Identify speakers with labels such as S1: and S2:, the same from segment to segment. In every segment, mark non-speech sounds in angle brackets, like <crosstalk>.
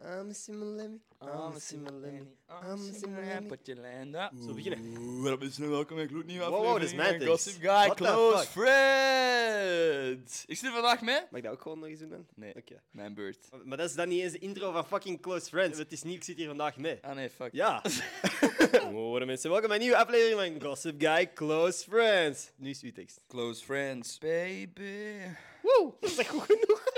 S1: Ah,
S2: I'm a simmer lemmy.
S3: Ah,
S2: I'm a simmer lemmy. I'm a simmer lemmy.
S4: Appeltje Linda.
S3: Zo beginnen. Welkom is welkom bij gloednieuwe
S1: Wow, wow, dat is mijn
S3: aflevering van
S1: tekst.
S3: Gossip Guy
S1: What the
S3: Close
S1: fuck?
S3: Friends. Ik zit er vandaag mee.
S1: Mag ik dat ook gewoon nog eens doen dan?
S3: Nee,
S1: Oké.
S3: mijn beurt.
S1: Maar- Maar dat is dan niet eens de intro van fucking Close Friends. Het is niet, ik zit hier vandaag mee.
S3: Ah nee,
S1: <laughs>
S3: fuck.
S1: Ja. Goedemorgen mensen, welkom bij een nieuwe aflevering van Gossip Guy Close Friends. Nu is uw tekst.
S3: Close Friends, baby.
S1: Woe, is dat goed genoeg? <laughs>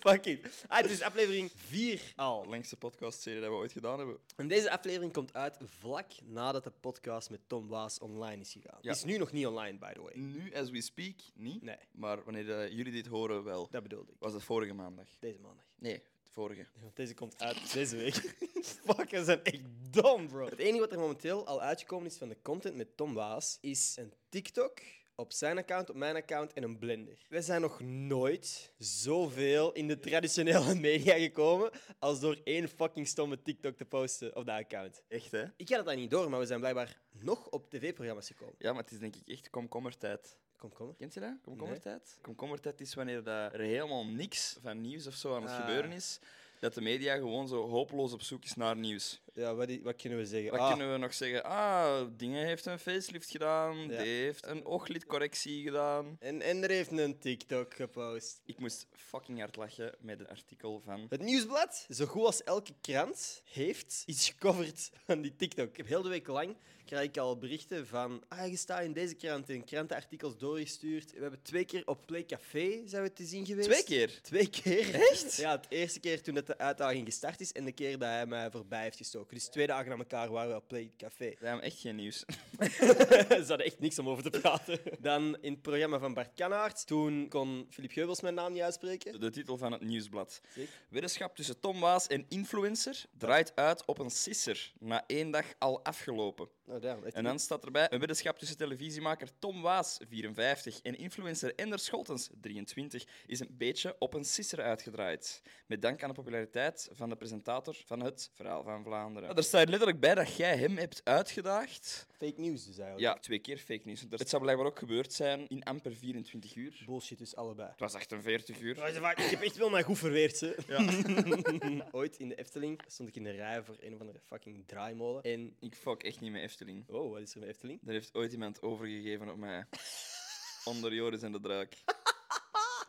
S1: Fuck it. Ah, het is aflevering 4 al.
S3: Langste podcastserie dat we ooit gedaan hebben.
S1: En deze aflevering komt uit vlak nadat de podcast met Tom Waas online is gegaan.
S3: Ja.
S1: Is nu nog niet online, by the way.
S3: Nu, as we speak, niet.
S1: Nee.
S3: Maar wanneer eh, jullie dit horen, wel.
S1: Dat bedoelde ik.
S3: Was dat vorige maandag?
S1: Deze maandag.
S3: Nee, de vorige.
S1: Want deze komt uit deze week. <laughs> Fuck, we zijn echt dom, bro. Het enige wat er momenteel al uitgekomen is van de content met Tom Waas is een TikTok op zijn account, op mijn account en een blender. Wij zijn nog nooit zoveel in de traditionele media gekomen als door één fucking stomme TikTok te posten op dat account.
S3: Echt, hè?
S1: Ik had het daar niet door, maar we zijn blijkbaar nog op tv-programma's gekomen.
S3: Ja, maar het is denk ik echt komkommertijd.
S1: Kom, kom.
S3: Kent je dat? Komkommertijd? Komkommertijd is wanneer dat er helemaal niks van nieuws of zo aan het
S1: Ah.
S3: gebeuren is. Dat de media gewoon zo hopeloos op zoek is naar nieuws.
S1: Ja, wat, i- wat kunnen we zeggen?
S3: Wat
S1: Ah,
S3: kunnen we nog zeggen? Ah, Dingen heeft een facelift gedaan. Die heeft een ooglidcorrectie gedaan.
S1: En Ender heeft een TikTok gepost.
S3: Ik moest fucking hard lachen met het artikel van...
S1: Het nieuwsblad, zo goed als elke krant, heeft iets gecoverd van die TikTok. Ik heb heel de week lang krijg ik al berichten van. Ah, je staat in deze krant en krantenartikels doorgestuurd. We hebben twee keer op Play Café zijn we te zien geweest.
S3: Twee keer?
S1: Twee keer.
S3: Echt?
S1: Ja, het eerste keer toen dat de uitdaging gestart is en de keer dat hij mij voorbij heeft gestoken. Dus twee dagen aan elkaar waren we op Play Café.
S3: We hebben echt geen nieuws.
S1: <laughs>
S3: <laughs>
S1: Ze hadden echt niks om over te praten. Dan in het programma van Bart Kanaert. Toen kon Filip Geubels mijn naam niet uitspreken.
S3: De titel van het nieuwsblad.
S1: Zeker.
S3: Weddenschap tussen Tom Waas en influencer draait uit op een sisser. Na één dag al afgelopen.
S1: Nou, daarom. Echt
S3: En dan staat erbij een weddenschap tussen televisiemaker Tom Waas, 54, en influencer Ender Scholtens, 23, is een beetje op een sisser uitgedraaid. Met dank aan de populariteit van de presentator van het Verhaal van Vlaanderen. Er staat letterlijk bij dat jij hem hebt uitgedaagd.
S1: Fake nieuws dus eigenlijk.
S3: Ja, twee keer fake news. Want er- Het zou blijkbaar ook gebeurd zijn in amper 24 uur.
S1: Bullshit dus allebei.
S3: Het was 48 uur.
S1: Ik heb echt wel mij goed verweerd, hè. <laughs> Ooit in de Efteling stond ik in de rij voor een of andere fucking draaimolen. En...
S3: Ik fuck echt niet met Efteling.
S1: Wow, wat is er met Efteling?
S3: Daar heeft ooit iemand overgegeven op <laughs> mij. Onder Joris en de <laughs> Draak.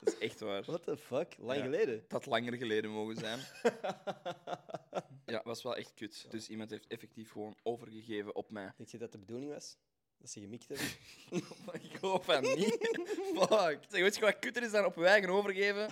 S3: Dat is echt waar.
S1: What the fuck? Lang
S3: Ja.
S1: geleden.
S3: Het had langer geleden mogen <laughs> zijn. ja, was wel echt kut. Dus iemand heeft effectief gewoon overgegeven op mij.
S1: Denk je dat de bedoeling was? Dat ze gemikt hebben?
S3: <laughs> Ik hoop van <laughs> niet. Fuck. Zeg, weet je wat kutter is dan op uw eigen overgeven?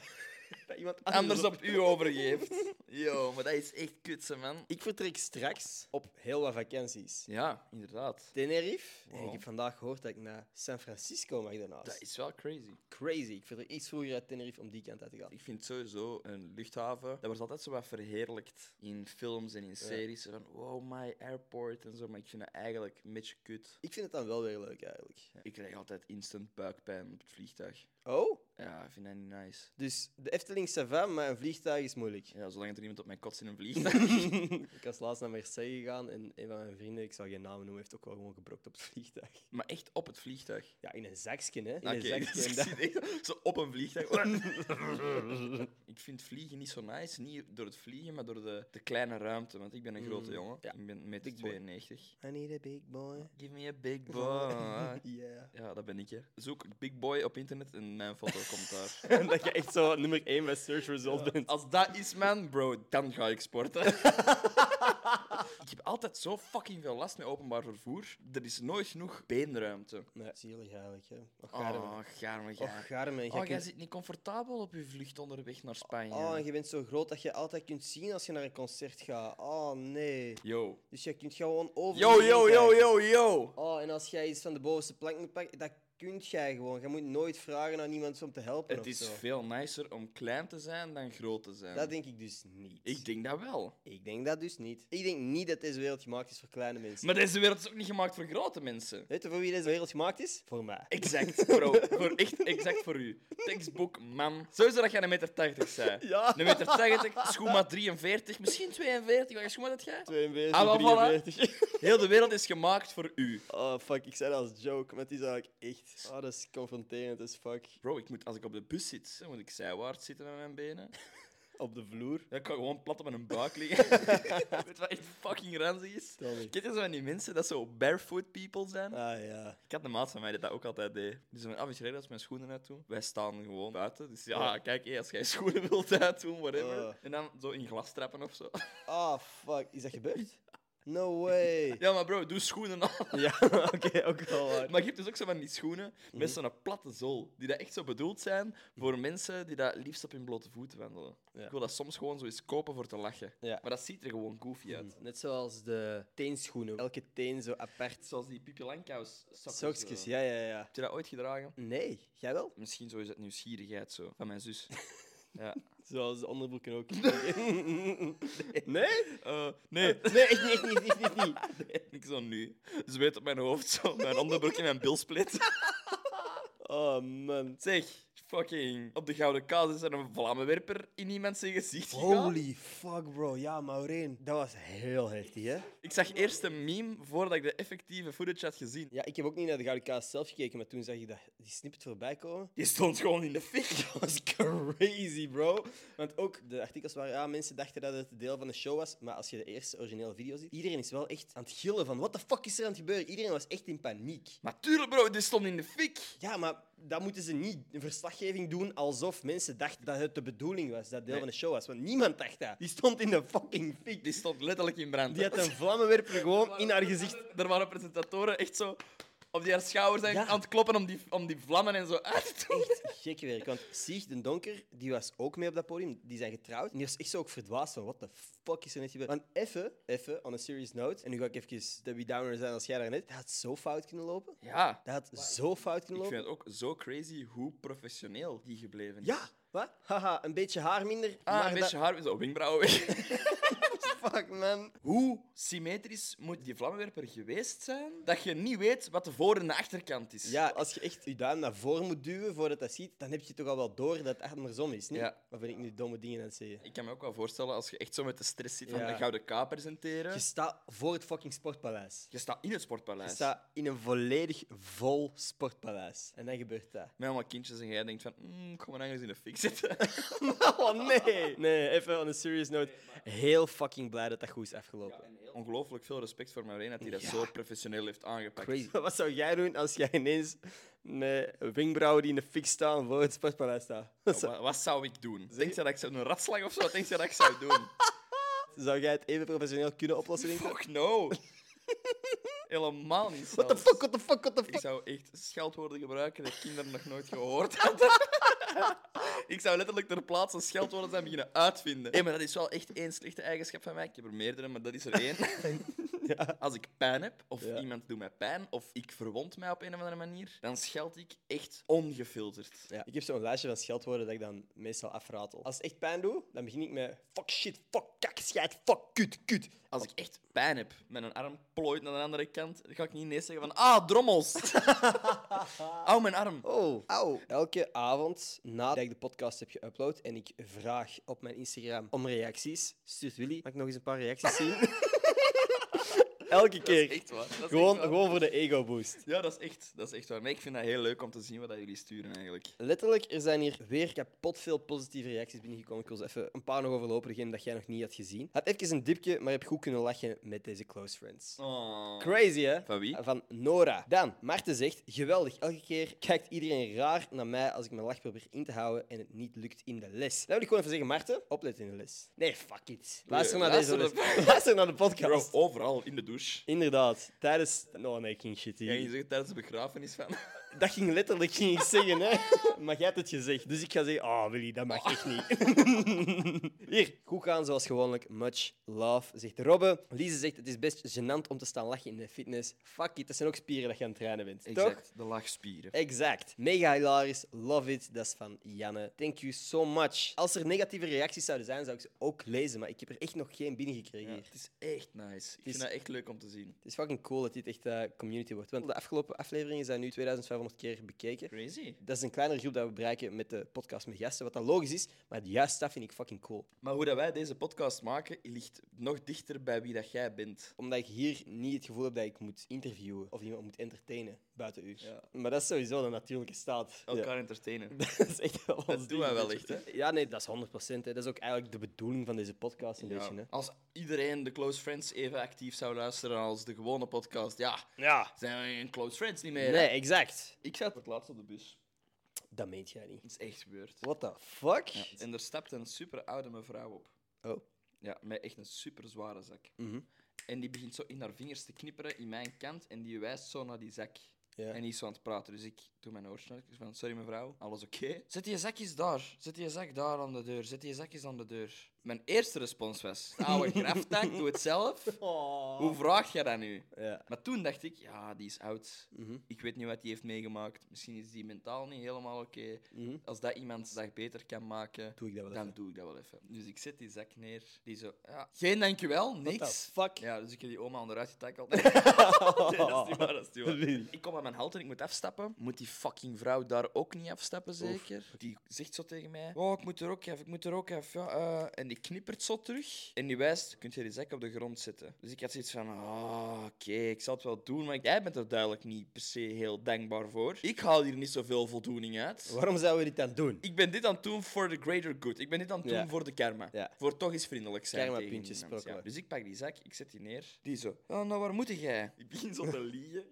S1: Ah, dat iemand
S3: Anders op u overgeeft. Ah. <laughs> Yo, maar dat is echt kutse, man.
S1: Ik vertrek straks op heel wat vakanties.
S3: Ja, inderdaad.
S1: Tenerife. En
S3: Wow.
S1: ik heb vandaag gehoord dat ik naar San Francisco mag daarnaast.
S3: Dat is wel crazy.
S1: crazy. Ik vertrek iets vroeger uit Tenerife om die kant uit te gaan.
S3: Ik vind sowieso een luchthaven, dat wordt altijd zo wat verheerlijkt in films en in series. Zo Van, wow, my airport en zo. Maar ik vind dat eigenlijk een beetje kut.
S1: Ik vind het dan wel weer leuk eigenlijk.
S3: Ik krijg altijd instant buikpijn op het vliegtuig.
S1: Oh?
S3: Ja, ik vind dat niet nice.
S1: Dus de Efteling savant, maar een vliegtuig is moeilijk.
S3: Ja, zolang er niemand op mijn kots in een vliegtuig. <laughs>
S1: Ik was laatst naar Marseille gegaan en een van mijn vrienden, ik zal geen namen noemen, heeft ook wel gewoon gebrokt op het vliegtuig.
S3: maar echt op het vliegtuig.
S1: Ja, in een zakje, hè? In
S3: Oké,
S1: een zakje.
S3: <laughs> dus
S1: en
S3: ik
S1: dat-
S3: zit echt zo op een vliegtuig. ik vind vliegen niet zo nice. Niet door het vliegen, maar door de, de kleine ruimte. Want ik ben een grote jongen.
S1: ja.
S3: Ik ben meter
S1: Big boy.
S3: 92.
S1: I need a big boy.
S3: Give me a big boy.
S1: Yeah.
S3: <laughs> Ja, dat ben ik, hè. Zoek Big Boy op internet en mijn foto komt daar.
S1: dat je echt zo nummer 1 bij search result bent.
S3: <laughs> Als dat is, man, bro, dan ga ik sporten. <laughs> ik heb altijd zo fucking veel last met openbaar vervoer. Er is nooit genoeg beenruimte.
S1: Nee, zielig eigenlijk, hè? Och,
S3: Oh,
S1: garmen.
S3: garme,
S1: Och,
S3: ja.
S1: garmen. Je
S3: Oh, jij
S1: kunt-
S3: zit niet comfortabel op je vlucht onderweg naar Spanje.
S1: Oh, en je bent zo groot dat je altijd kunt zien als je naar een concert gaat. Oh, nee.
S3: Yo.
S1: Dus je kunt gewoon over...
S3: Yo,
S1: je heen
S3: yo, yo,
S1: kijken.
S3: yo, yo.
S1: Oh, en als jij iets van de bovenste plank moet pakken, dat kunt jij gewoon. Je moet nooit vragen aan iemand om te helpen
S3: Het
S1: of
S3: is
S1: zo.
S3: veel nicer om klein te zijn dan groot te zijn.
S1: Dat denk ik dus niet.
S3: Ik denk dat wel.
S1: Ik denk dat dus niet. Ik denk niet dat deze wereld gemaakt is voor kleine mensen.
S3: Maar deze wereld is ook niet gemaakt voor grote mensen.
S1: Weet je voor wie deze wereld gemaakt is? Voor mij. <laughs>
S3: Exact, bro. voor, echt exact voor u. Textbook, man. Sowieso dat jij een meter 80 zei.
S1: Ja.
S3: Een meter 80, schoenmaat 43, misschien 42. Wat is schoenmaat dat jij?
S1: 42,
S3: Ah, wel, voilà. Heel de wereld is gemaakt voor u.
S1: <laughs> Oh, fuck. Ik zei dat als joke, maar het is eigenlijk echt... Oh, dat is confronterend as fuck.
S3: Bro, ik moet, als ik op de bus zit, dan moet ik zijwaarts zitten met mijn benen.
S1: Op de vloer.
S3: Dat kan gewoon plat op mijn buik liggen. <laughs> Weet je wat echt fucking ranzig is?
S1: Tel niet.
S3: Kent je zo van die mensen dat zo barefoot people zijn?
S1: Ah ja.
S3: Ik had een maat van mij die dat ook altijd deed. Die zei, af is reden als mijn schoenen uitdoen. Wij staan gewoon buiten. Dus ja,
S1: Ja.
S3: kijk, hé, als jij schoenen wilt uitdoen, whatever.
S1: Oh.
S3: En dan zo in glas trappen of zo. <laughs>
S1: Ah, fuck. Is dat gebeurd? No way.
S3: Ja, maar bro, doe schoenen aan.
S1: <laughs> Ja, oké, ook wel waar.
S3: <laughs> Maar je hebt dus ook zo van die schoenen met zo'n platte zool. Die dat echt zo bedoeld zijn voor mensen die dat liefst op hun blote voeten wandelen.
S1: Ja.
S3: Ik wil dat soms gewoon zo eens kopen voor te lachen.
S1: Ja.
S3: Maar dat ziet er gewoon goofy uit.
S1: Net zoals de teenschoenen. Elke teen zo apart.
S3: Zoals die Pipi Langkous sokjes.
S1: Sokjes,
S3: zo.
S1: ja, ja, ja.
S3: Heb je dat ooit gedragen?
S1: Nee, jij wel?
S3: Misschien zo is het nieuwsgierigheid zo, van mijn
S1: <laughs>
S3: zus. ja.
S1: Zoals de onderbroeken ook. <laughs> nee? Nee,
S3: Eh, nee, <laughs>
S1: echt niet, echt niet, echt niet, echt niet.
S3: ik zo nu. Zweet op mijn hoofd, zo. Mijn onderbroek in mijn
S1: <laughs>
S3: bilsplit.
S1: Oh, man.
S3: zeg, fucking. Op de Gouden Kaas is er een vlammenwerper in iemand zijn gezicht gegaan.
S1: Holy fuck, bro. Ja, Maureen. Dat was heel heftig, hè?
S3: Ik zag eerst een meme voordat ik de effectieve footage had gezien.
S1: Ja, ik heb ook niet naar de Gouden Kaas zelf gekeken, maar toen zag ik dat, die snippet voorbij komen. <laughs>
S3: Je stond gewoon in de fik.
S1: Dat was crazy, bro. Want ook de artikels waren, ja, mensen dachten dat het deel van de show was. Maar als je de eerste originele video ziet, iedereen is wel echt aan het gillen van, what the fuck is er aan het gebeuren? Iedereen was echt in paniek.
S3: Maar tuurlijk, bro, die stond in de fik.
S1: Ja, maar dan moeten ze niet een verslaggeving doen alsof mensen dachten dat het de bedoeling was, dat deel
S3: Nee.
S1: van de show was. Want niemand dacht dat. Die stond in de fucking fik.
S3: Die stond letterlijk in brand.
S1: Die had
S3: <laughs>
S1: een vlammenwerper gewoon in haar gezicht.
S3: Er waren presentatoren echt zo op die haar schouder zijn
S1: Ja.
S3: aan het kloppen om die, om die vlammen en zo uit te doen.
S1: Echt gek werk. Want Sieg den Donker, die was ook mee op dat podium. Die zijn getrouwd. En die was echt zo ook verdwaasd van, what the fuck is er net gebeurd? Want even, even, on a serious note. En nu ga ik even Debbie Downer zijn als jij daarnet. Dat had zo fout kunnen lopen.
S3: Ja.
S1: Dat had zo fout
S3: Ik
S1: kunnen
S3: vind
S1: lopen.
S3: het ook zo crazy hoe professioneel die gebleven is.
S1: Ja, wat? Haha, een beetje haar minder.
S3: Ah,
S1: maar
S3: een beetje haar, zo wenkbrauwen weg.
S1: dat... <laughs> Fuck, man.
S3: <laughs> Hoe symmetrisch moet die vlammenwerper geweest zijn dat je niet weet wat de voor- en de achterkant is?
S1: Ja, als je echt je duim naar voren moet duwen voordat dat ziet, dan heb je toch al wel door dat het andersom is, niet?
S3: Ja.
S1: Of ben ik nu domme dingen aan het zeggen?
S3: Ik kan me ook wel voorstellen als je echt zo met de stress zit van
S1: Ja.
S3: de Gouden K presenteren.
S1: Je staat voor het fucking sportpaleis.
S3: Je staat in het
S1: Je
S3: sportpaleis.
S1: staat in een volledig vol sportpaleis. En dan gebeurt dat.
S3: Met allemaal kindjes en jij denkt van, "Mm, ik ga me ergens in de fik zitten.
S1: <laughs>
S3: <laughs>
S1: Oh nee! Nee, even on a serious note. Heel fucking blij dat dat goed is afgelopen.
S3: Ongelooflijk veel respect voor Maureen dat hij dat zo professioneel heeft aangepakt.
S1: Crazy. <laughs> Wat zou jij doen als jij ineens met wenkbrauwen die in de fik staan voor het sportpaleis staat?
S3: Wa- Wat, zou ik doen? Denk je dat ik zou een ratslag of zo? Wat denk je dat ik zou doen?
S1: Zou jij het even professioneel kunnen oplossen? Denk je?
S3: Fuck no! <laughs> Helemaal
S1: <laughs>
S3: niet
S1: What the
S3: zelfs.
S1: fuck, what the fuck, what the
S3: Ik
S1: fuck?
S3: zou echt scheldwoorden gebruiken dat kinderen nog nooit
S1: <laughs>
S3: gehoord hadden. ik zou letterlijk ter plaatse scheldwoorden zijn beginnen uitvinden. Hé, maar dat is wel echt één slechte eigenschap van mij. Ik heb er meerdere, maar dat is er één. Als ik pijn heb, of
S1: Ja.
S3: iemand doet mij pijn, of ik verwond mij op een of andere manier, dan scheld ik echt ongefilterd.
S1: Ja. Ik heb zo'n lijstje van scheldwoorden dat ik dan meestal afratel. Als het echt pijn doet, dan begin ik met fuck shit, fuck kak, scheid, fuck kut, kut.
S3: Als ik echt pijn heb, met een arm plooit naar de andere kant, dan ga ik niet ineens zeggen van ah,
S1: <laughs>
S3: drommels. Au, mijn arm.
S1: Oh, auw. Elke avond nadat ik de podcast heb geüpload en ik vraag op mijn Instagram om reacties, stuurt Willy, mag ik nog eens een paar reacties zien? <laughs> Elke keer.
S3: Echt waar. Dat is
S1: gewoon,
S3: echt waar.
S1: gewoon voor de ego boost.
S3: Ja, dat is echt, dat is echt waar. Nee, ik vind dat heel leuk om te zien wat dat jullie sturen eigenlijk.
S1: Letterlijk, er zijn hier weer kapot veel positieve reacties binnengekomen. Ik wil ze even een paar nog overlopen, degene dat jij nog niet had gezien. Had even een dipje, maar heb goed kunnen lachen met deze close friends.
S3: Oh.
S1: Crazy, hè?
S3: Van wie?
S1: Van Nora. Dan, Maarten zegt, geweldig. Elke keer kijkt iedereen raar naar mij als ik mijn lach probeer in te houden en het niet lukt in de les. Dan wil ik gewoon even zeggen, Maarten, oplet in de les. Nee, fuck it. Luister naar deze
S3: Eh, luister
S1: les.
S3: naar-
S1: <laughs> Luister naar de
S3: Bro,
S1: podcast.
S3: overal in de douche.
S1: Inderdaad, tijdens... No, nee, ik ging shit
S3: Ja, je
S1: hier.
S3: zegt tijdens de begrafenis van.
S1: Dat ging letterlijk ging ik zeggen, hè. Maar jij hebt het gezegd. Dus ik ga zeggen, ah, Willy, dat mag echt niet. <laughs> Hier, goed gaan zoals gewoonlijk. Much love, zegt Robbe. Lise zegt, het is best gênant om te staan lachen in de fitness. Fuck it, dat zijn ook spieren dat je aan het trainen bent. Toch?
S3: de lachspieren.
S1: Exact. Mega hilarisch. Love it. Dat is van Janne. Thank you so much. Als er negatieve reacties zouden zijn, zou ik ze ook lezen. Maar ik heb er echt nog geen binnengekregen.
S3: Ja,
S1: hier.
S3: het is echt nice. Ik
S1: is-
S3: vind dat echt leuk om te zien.
S1: Het is fucking cool dat dit echt eh, community wordt. Want de afgelopen afleveringen zijn nu 2500 keer bekeken.
S3: Crazy.
S1: Dat is een kleinere groep dat we bereiken met de podcast met gasten. Wat dan logisch is. Maar juist dat vind ik fucking cool.
S3: Maar hoe dat wij deze podcast maken, ligt nog dichter bij wie dat jij bent.
S1: Omdat ik hier niet het gevoel heb dat ik moet interviewen of iemand moet entertainen. buiten uur.
S3: Ja.
S1: Maar dat is sowieso de natuurlijke staat. Ja. <laughs>
S3: Elkaar entertainen.
S1: Dat is echt wel ons
S3: Dat doen
S1: ding,
S3: wij wel
S1: weet
S3: echt,
S1: je.
S3: hè?
S1: Ja, nee, dat is 100%. Hè. Dat is ook eigenlijk de bedoeling van deze podcast een beetje. Hè.
S3: Ja. Als iedereen de Close Friends even actief zou luisteren als de gewone podcast, ja,
S1: Ja.
S3: zijn we geen Close Friends niet meer. hè?
S1: Nee, exact.
S3: Ik zat voor het laatst op de bus.
S1: Dat meent jij niet.
S3: Dat is echt weird.
S1: What the fuck?
S3: En er stapte een super oude mevrouw op.
S1: Oh.
S3: Ja, met echt een super zware zak.
S1: Mhm.
S3: En die begint zo in haar vingers te knipperen in mijn kant en die wijst zo naar die zak.
S1: Ja.
S3: En die is zo aan het praten, dus ik doe mijn oorsnelletjes van, sorry mevrouw, alles oké? Zet die zakjes daar, zet die zak daar aan de deur, zet die zakjes aan de deur. Mijn eerste respons was, ouwe graftak, doe het <laughs> zelf. Hoe vraag je dat nu?
S1: Ja.
S3: Maar toen dacht ik, ja, die is oud.
S1: Mhm.
S3: Ik weet niet wat die heeft meegemaakt. Misschien is die mentaal niet helemaal oké.
S1: Mhm.
S3: Als dat iemand zijn dag beter kan maken,
S1: Doe ik dat wel
S3: dan
S1: even.
S3: doe ik dat wel even. Dus ik zet die zak neer. Die zo, ja, geen dankjewel,
S1: What the
S3: niks.
S1: fuck?
S3: Ja, dus ik heb die oma onderuit <laughs> getakkeld. nee, dat is niet waar, dat is niet waar.
S1: Lul.
S3: Ik kom aan mijn halt en ik moet afstappen. Moet die fucking vrouw daar ook niet afstappen, zeker? Die zegt zo tegen mij, oh, ik moet er ook af, ik moet er ook af. Ja, eh." En die knippert zo terug. En die wijst, kun je die zak op de grond zetten? Dus ik had zoiets van, oh, oké, ik zal het wel doen. Maar jij bent er duidelijk niet per se heel dankbaar voor. Ik haal hier niet zoveel voldoening uit.
S1: Waarom zouden we dit dan doen?
S3: Ik ben dit aan het doen voor the greater good. Ik ben dit aan het doen
S1: Ja.
S3: voor de karma.
S1: Ja.
S3: Voor toch eens vriendelijk zijn
S1: Karma
S3: tegen
S1: puntjes
S3: iemand, ja.
S1: sprokkelen.
S3: Dus ik pak die zak, ik zet die neer. Die
S1: <laughs>
S3: zo, "Ja, nou waar moet jij? Ik begin zo <laughs> te liegen.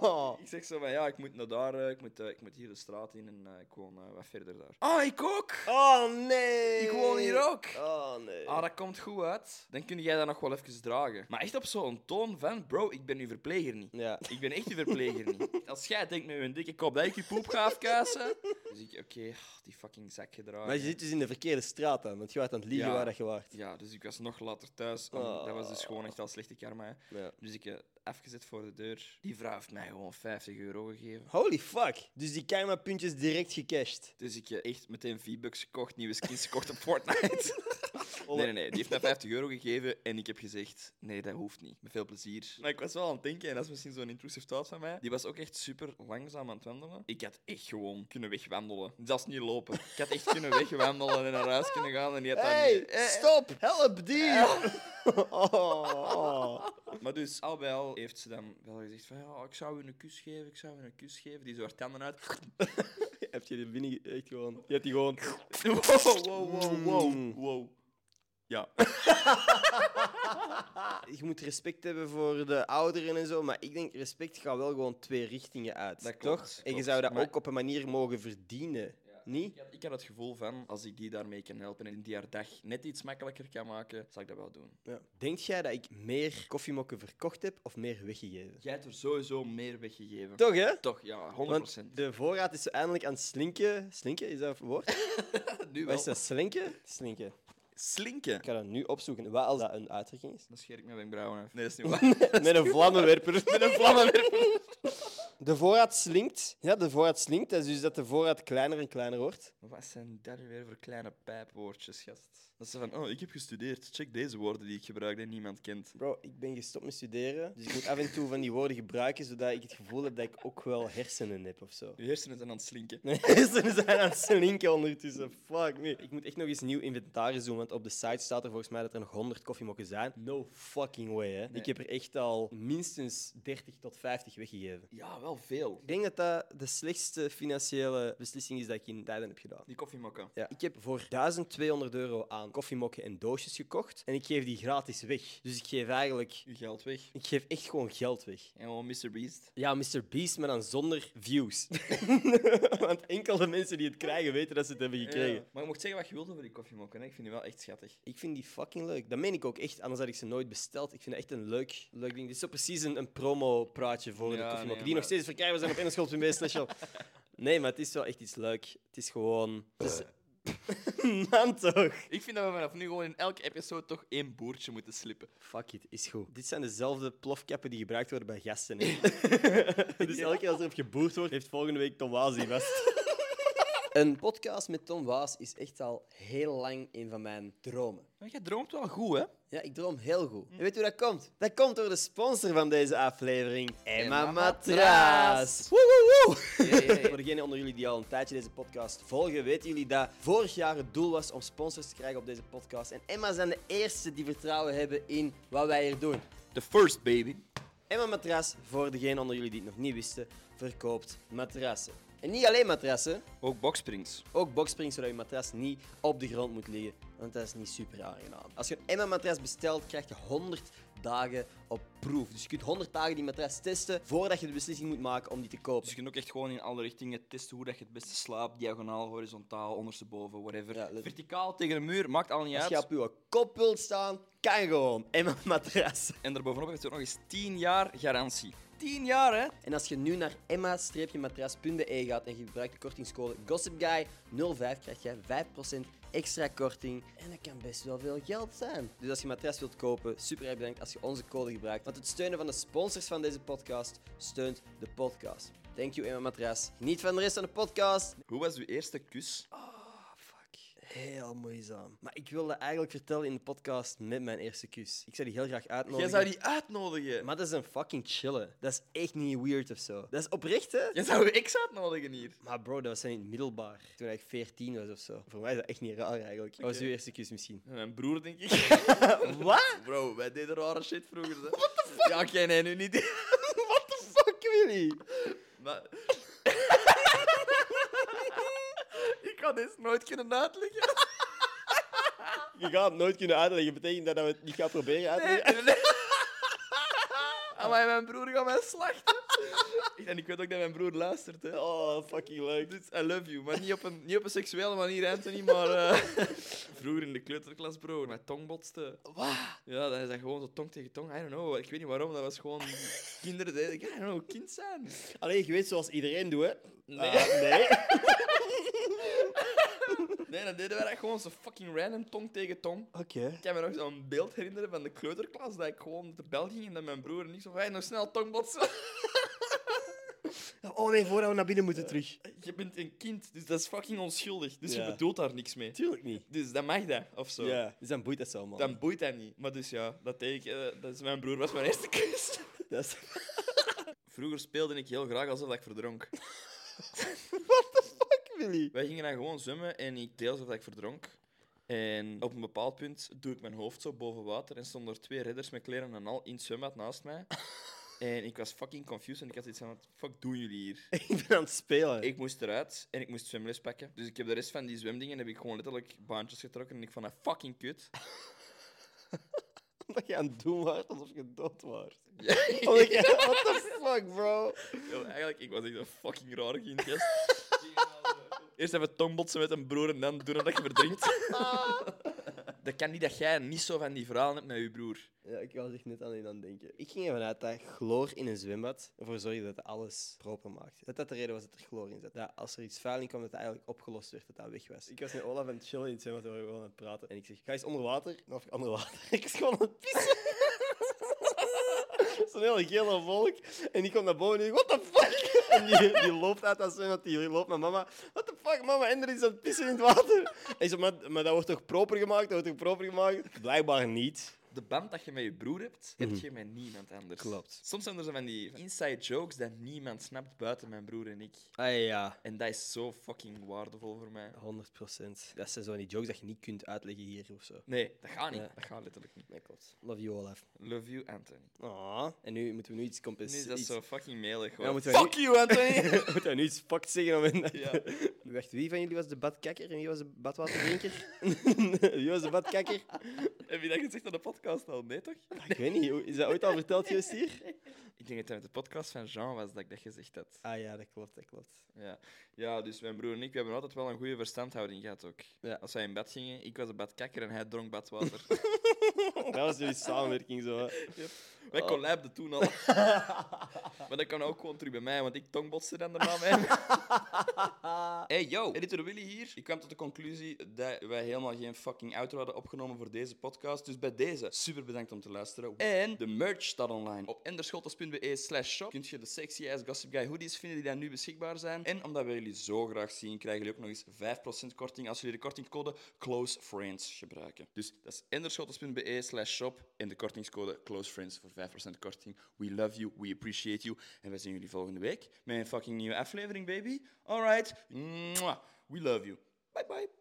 S1: Oh,
S3: ik zeg zo van, ja, ik moet naar daar, eh, ik moet, eh, ik moet hier de straat in en eh, ik woon eh, wat verder daar. Ah, ik ook!
S1: Oh nee!
S3: Ik woon hier ook.
S1: Oh nee.
S3: Ah, dat komt goed uit. Dan kun jij dat nog wel even dragen. Maar echt op zo'n toon van, bro, ik ben uw verpleger niet.
S1: Ja.
S3: Ik ben echt uw verpleger niet. <laughs> Als jij denkt met een dikke kop dat ik je poep ga afkuisen. Dus ik, oké, die fucking zak gedragen.
S1: Maar je zit dus in de verkeerde straat dan, want je was aan het liegen
S3: Ja.
S1: waar dat je waart.
S3: Ja, dus ik was nog later thuis. om- Dat was dus gewoon echt al slechte karma. hè.
S1: Ja.
S3: Dus ik heb afgezet voor de deur. Die vrouw heeft mij gewoon 50 euro gegeven.
S1: Holy fuck! Dus die karma-puntjes direct gecashed.
S3: Dus ik heb echt meteen V-Bucks gekocht, nieuwe skins gekocht op Fortnite. <laughs> Nee, nee, nee. Die heeft mij 50 euro gegeven en ik heb gezegd, nee, dat hoeft niet. Met veel plezier. Maar ik was wel aan het denken, en dat is misschien zo'n intrusive thought van mij, die was ook echt super langzaam aan het wandelen. Ik had echt gewoon kunnen wegwandelen. Zelfs niet lopen. Ik had echt kunnen wegwandelen en naar huis kunnen gaan en die had dat
S1: Hey,
S3: niet- Eh, eh.
S1: stop! Help die! <laughs> Oh, oh.
S3: Maar dus, al bij al heeft ze dan wel gezegd van, ja, ik zou u een kus geven, ik zou u een kus geven. Die zo haar tanden uit. <laughs>
S1: Heb je die binnen echt gewoon... Je hebt die gewoon...
S3: Wow, wow, wow,
S1: Mm.
S3: wow, wow. Ja.
S1: Ah, Je moet respect hebben voor de ouderen en zo, maar ik denk respect gaat wel gewoon twee richtingen uit.
S3: Dat klopt,
S1: toch?
S3: dat
S1: En je
S3: klopt.
S1: zou dat
S3: Maar-
S1: ook op een manier mogen verdienen.
S3: Ik
S1: Niet?
S3: had, ik had het gevoel van, als ik die daarmee kan helpen en die haar dag net iets makkelijker kan maken, zal ik dat wel doen.
S1: Ja. Denk jij dat ik meer koffiemokken verkocht heb of meer weggegeven?
S3: Jij hebt er sowieso meer weggegeven.
S1: Toch, hè?
S3: Toch, ja, 100%.
S1: Want de voorraad is zo eindelijk aan het slinken. Slinken, is dat een woord?
S3: nu
S1: Wat
S3: wel.
S1: is dat, slinken? Slinken.
S3: Slinken.
S1: Ik ga dat nu opzoeken. Wat als dat een uitdrukking is?
S3: Dan scheer ik mijn wenkbrauwen af. Nee, dat is <laughs> niet waar.
S1: <laughs> Met een <laughs> vlammenwerper.
S3: Met een vlammenwerper.
S1: De voorraad slinkt. Ja, de voorraad slinkt. Dat is dus dat de voorraad kleiner en kleiner wordt.
S3: Wat zijn dat nu weer voor kleine pijpwoordjes, gast? Dat ze van, oh, ik heb gestudeerd. Check deze woorden die ik gebruik die niemand kent.
S1: Bro, ik ben gestopt met studeren. Dus ik moet af en toe van die woorden gebruiken, zodat ik het gevoel heb dat ik ook wel hersenen heb of zo.
S3: Je hersenen zijn aan het slinken.
S1: Nee, <laughs> hersenen zijn aan het slinken ondertussen. Fuck me. Ik moet echt nog eens nieuw inventaris doen, want op de site staat er volgens mij dat er nog 100 koffiemokken zijn. No fucking way, hè. Ik heb er echt al minstens 30 tot 50 weggegeven.
S3: Ja, wel veel.
S1: Ik denk dat dat de slechtste financiële beslissing is dat ik in tijden heb gedaan.
S3: Die koffiemokken.
S1: Ja. Ik heb voor 1200 euro aan koffiemokken en doosjes gekocht. En ik geef die gratis weg. Dus ik geef eigenlijk...
S3: Je geld weg.
S1: Ik geef echt gewoon geld weg.
S3: En gewoon Mr. Beast.
S1: Ja, Mr. Beast, maar dan zonder views. <laughs> Want enkel de mensen die het krijgen weten dat ze het hebben gekregen.
S3: Ja. Eh, Maar je mocht zeggen wat je wilt over die koffiemokken. hè. Ik vind die wel echt schattig.
S1: Ik vind die fucking leuk. Dat meen ik ook echt, anders had ik ze nooit besteld. Ik vind dat echt een leuk, leuk ding. Dit is zo precies een, een promo-praatje voor de
S3: Ja,
S1: koffiemokken.
S3: nee,
S1: die nog
S3: maar-
S1: steeds verkrijgbaar zijn op engelschot.be. slash
S3: <laughs>
S1: shop. Nee, maar het is wel echt iets leuk. Het is gewoon... Het is... <laughs> Man, toch?
S3: Ik vind dat we vanaf nu gewoon in elke episode toch één boertje moeten slippen.
S1: Fuck it, is goed. Dit zijn dezelfde plofkappen die gebruikt worden bij gasten. <laughs> hè. dus elke keer als er op geboerd wordt, heeft volgende week Tom Waas die vast. <laughs> Een podcast met Tom Waas is echt al heel lang een van mijn dromen.
S3: Maar jij droomt wel goed, hè?
S1: Ja, ik droom heel goed. En weet je hoe dat komt? Dat komt door de sponsor van deze aflevering, Emma
S3: Emma
S1: Matraas.
S3: Matraas.
S1: Woe, woe, woe.
S3: Ja, ja, <laughs> ja.
S1: Voor degenen onder jullie die al een tijdje deze podcast volgen, weten jullie dat vorig jaar het doel was om sponsors te krijgen op deze podcast. En Emma zijn de eerste die vertrouwen hebben in wat wij hier doen.
S3: The first baby.
S1: En mijn matras, voor degene onder jullie die het nog niet wisten, verkoopt matrassen. En niet alleen matrassen,
S3: Ook boxsprings.
S1: ook boksprings, zodat je matras niet op de grond moet liggen. Want dat is niet super aangenaam. Als je een Emma-matras bestelt, krijg je 100 dagen op proef. Dus je kunt 100 dagen die matras testen voordat je de beslissing moet maken om die te kopen.
S3: Dus je kunt ook echt gewoon in alle richtingen testen hoe dat je het beste slaapt. Diagonaal, horizontaal, ondersteboven, whatever.
S1: Ja, let-
S3: Verticaal tegen een muur, maakt al niet
S1: Als je
S3: uit.
S1: op je kop wilt staan, kan gewoon. Emma-matras.
S3: En daarbovenop heeft het ook nog eens 10 jaar garantie. 10 jaar, hè?
S1: En als je nu naar emma-matras.be gaat en je gebruikt de kortingscode GossipGuy05, krijg je 5% extra korting. En dat kan best wel veel geld zijn. Dus als je een matras wilt kopen, super erg bedankt als je onze code gebruikt. Want het steunen van de sponsors van deze podcast steunt de podcast. Thank you, Emma Matras. Geniet van de rest van de podcast.
S3: Hoe was uw eerste kus?
S1: Fuck, Heel moeizaam. Maar ik wilde eigenlijk vertellen in de podcast met mijn eerste kus. Ik zou die heel graag
S3: Jij
S1: uitnodigen.
S3: zou die uitnodigen.
S1: Maar dat is een fucking chillen. Dat is echt niet weird of zo. Dat is oprecht, hè?
S3: Jij zou uw ex uitnodigen hier.
S1: Maar bro, dat was in het middelbaar. Toen ik 14 was of zo. Voor mij is dat echt niet raar eigenlijk. Dat was
S3: Oké.
S1: uw eerste kus misschien.
S3: Mijn broer, denk <laughs> ik.
S1: Wat?
S3: Bro, wij deden rare shit vroeger. What the fuck? Ja, oké, nee, nu niet.
S1: <laughs>
S3: <laughs>
S1: What the fuck, Willy?
S3: Maar... ik kan dit nooit kunnen uitleggen.
S1: Je gaat het nooit kunnen uitleggen. Betekent dat dat we het niet gaan proberen uit te leggen?
S3: Amai, mijn broer gaat mij slachten. <laughs> en ik weet ook dat mijn broer luistert. Hè.
S1: Oh, fucking leuk.
S3: Dus I love you, maar niet op een, niet op een seksuele manier, Anthony, maar... eh, <laughs> Vroeger in de kleuterklas, bro, mijn tong botste. Ja, dan is dat gewoon zo tong tegen tong. I don't know, ik weet niet waarom, dat was gewoon... Kinderen deden, ik I don't know, kind zijn.
S1: Alleen, je weet zoals iedereen doet, hè?
S3: Nee.
S1: Ah, nee.
S3: Nee, dan deden wij dat gewoon zo fucking random, tong tegen tong.
S1: <laughs> Oké.
S3: Ik kan me nog zo'n beeld herinneren van de kleuterklas, dat ik gewoon de bel ging en dat mijn broer en ik zo van, "Hey, nog snel tongbotsen.
S1: Oh nee, voordat we naar binnen moeten terug.
S3: Je bent een kind, dus dat is fucking onschuldig. Dus
S1: Ja.
S3: je bedoelt daar niks mee.
S1: Tuurlijk niet.
S3: Dus dat mag dat, of zo.
S1: Ja, dus dan boeit dat zo, man.
S3: Dan boeit dat niet. Maar dus ja, dat deed ik. eh, dat is mijn broer was mijn eerste kus.
S1: Dat is... <laughs>
S3: Vroeger speelde ik heel graag alsof ik verdronk.
S1: What the fuck, Willy?
S3: Wij gingen dan gewoon zwemmen en ik deed alsof ik verdronk. En op een bepaald punt doe ik mijn hoofd zo boven water en stonden er twee redders met kleren en al in het zwembad naast mij. En ik was fucking confused en ik had iets van, wat fuck doen jullie hier?
S1: ik ben aan het spelen.
S3: Ik moest eruit en ik moest zwemles pakken. Dus ik heb de rest van die zwemdingen heb ik gewoon letterlijk baantjes getrokken en ik vond dat fucking kut.
S1: Omdat je aan het doen was alsof je dood <laughs> was.
S3: Ja.
S1: Omdat je... What the fuck, bro?
S3: <laughs> Yo, eigenlijk, ik was echt een fucking rare kind, gast. Eerst even tongbotsen met een broer en dan doen dat je
S1: <laughs>
S3: verdrinkt. dat kan niet dat jij niet zo van die verhalen hebt met je broer.
S1: Ja, ik was echt net aan aan het denken. Ik ging ervan uit dat chloor in een zwembad ervoor zorgde dat alles proper maakte. Dat dat de reden was dat er chloor in zat. Dat als er iets vuil in kwam, dat dat eigenlijk opgelost werd, dat dat weg was. Ik was met Olaf aan het chillen in het zwembad, we waren gewoon aan het praten. En ik zeg, ga eens onder water. Of ik onder water. <laughs> ik is gewoon aan het pissen. <laughs> Zo'n hele gele volk. En die komt naar boven en die zegt, what the fuck? <laughs> En die, die loopt uit dat zwembad, die loopt naar mama. What the fuck, mama, Ender is aan het pissen in het water. En zo, maar, maar dat wordt toch proper gemaakt? Dat wordt toch proper gemaakt? Blijkbaar niet.
S3: De band dat je met je broer hebt, heb je met niemand anders.
S1: Mhm. Klopt.
S3: Soms zijn er zo van die inside jokes dat niemand snapt buiten mijn broer en ik.
S1: Ah ja,
S3: En dat is zo fucking waardevol voor mij.
S1: 100%. Dat zijn zo van die jokes dat je niet kunt uitleggen hier of zo.
S3: Nee, dat gaat niet.
S1: Ja.
S3: Dat gaat letterlijk niet.
S1: Nee, klopt. Love you, Olaf.
S3: Love you, Anthony.
S1: Ah. En nu moeten we nu iets
S3: Nu is
S1: compenseren.
S3: dat zo fucking melig,
S1: Ja,
S3: hoor.
S1: moeten wij
S3: Fuck you,
S1: <laughs>
S3: Anthony!
S1: moeten <laughs> we nu iets fucked zeggen? Om in...
S3: Ja.
S1: <laughs> Wacht, wie van jullie was de badkakker en wie was de badwaterdrinker? <laughs> wie was de badkakker?
S3: heb je dat gezegd aan de podcast al? Nee, toch?
S1: Ik weet niet, hoe- is dat ooit al verteld geweest hier?
S3: Ik denk dat het met de podcast van Jean was dat ik dat gezegd had.
S1: Ah ja, dat klopt, dat klopt.
S3: Ja. ja, dus mijn broer en ik we hebben altijd wel een goede verstandhouding gehad ook.
S1: Ja.
S3: Als wij in bad gingen, ik was een badkakker en hij dronk badwater.
S1: Dat was jullie samenwerking zo. hè.
S3: wij
S1: Oh.
S3: collabden toen <laughs> al. maar dat kan ook gewoon terug bij mij, want ik tongbotste dan daarna mij. <laughs> hey yo, editor Willy hier. Ik kwam tot de conclusie dat wij helemaal geen fucking outro hadden opgenomen voor deze podcast. Dus bij deze, super bedankt om te luisteren. En de merch staat online. Op enderschotters.be slash shop kun je de sexy ass Gossip Guy hoodies vinden die daar nu beschikbaar zijn. En omdat wij jullie zo graag zien, krijgen jullie ook nog eens 5% korting als jullie de kortingscode CLOSEFRIENDS gebruiken. Dus dat is enderschotters.be slash shop en de kortingscode CLOSEFRIENDS voor 5% korting. We love you, we appreciate you. En wij zien jullie volgende week met een fucking nieuwe aflevering, baby. Alright, Mwah. we love you. Bye bye.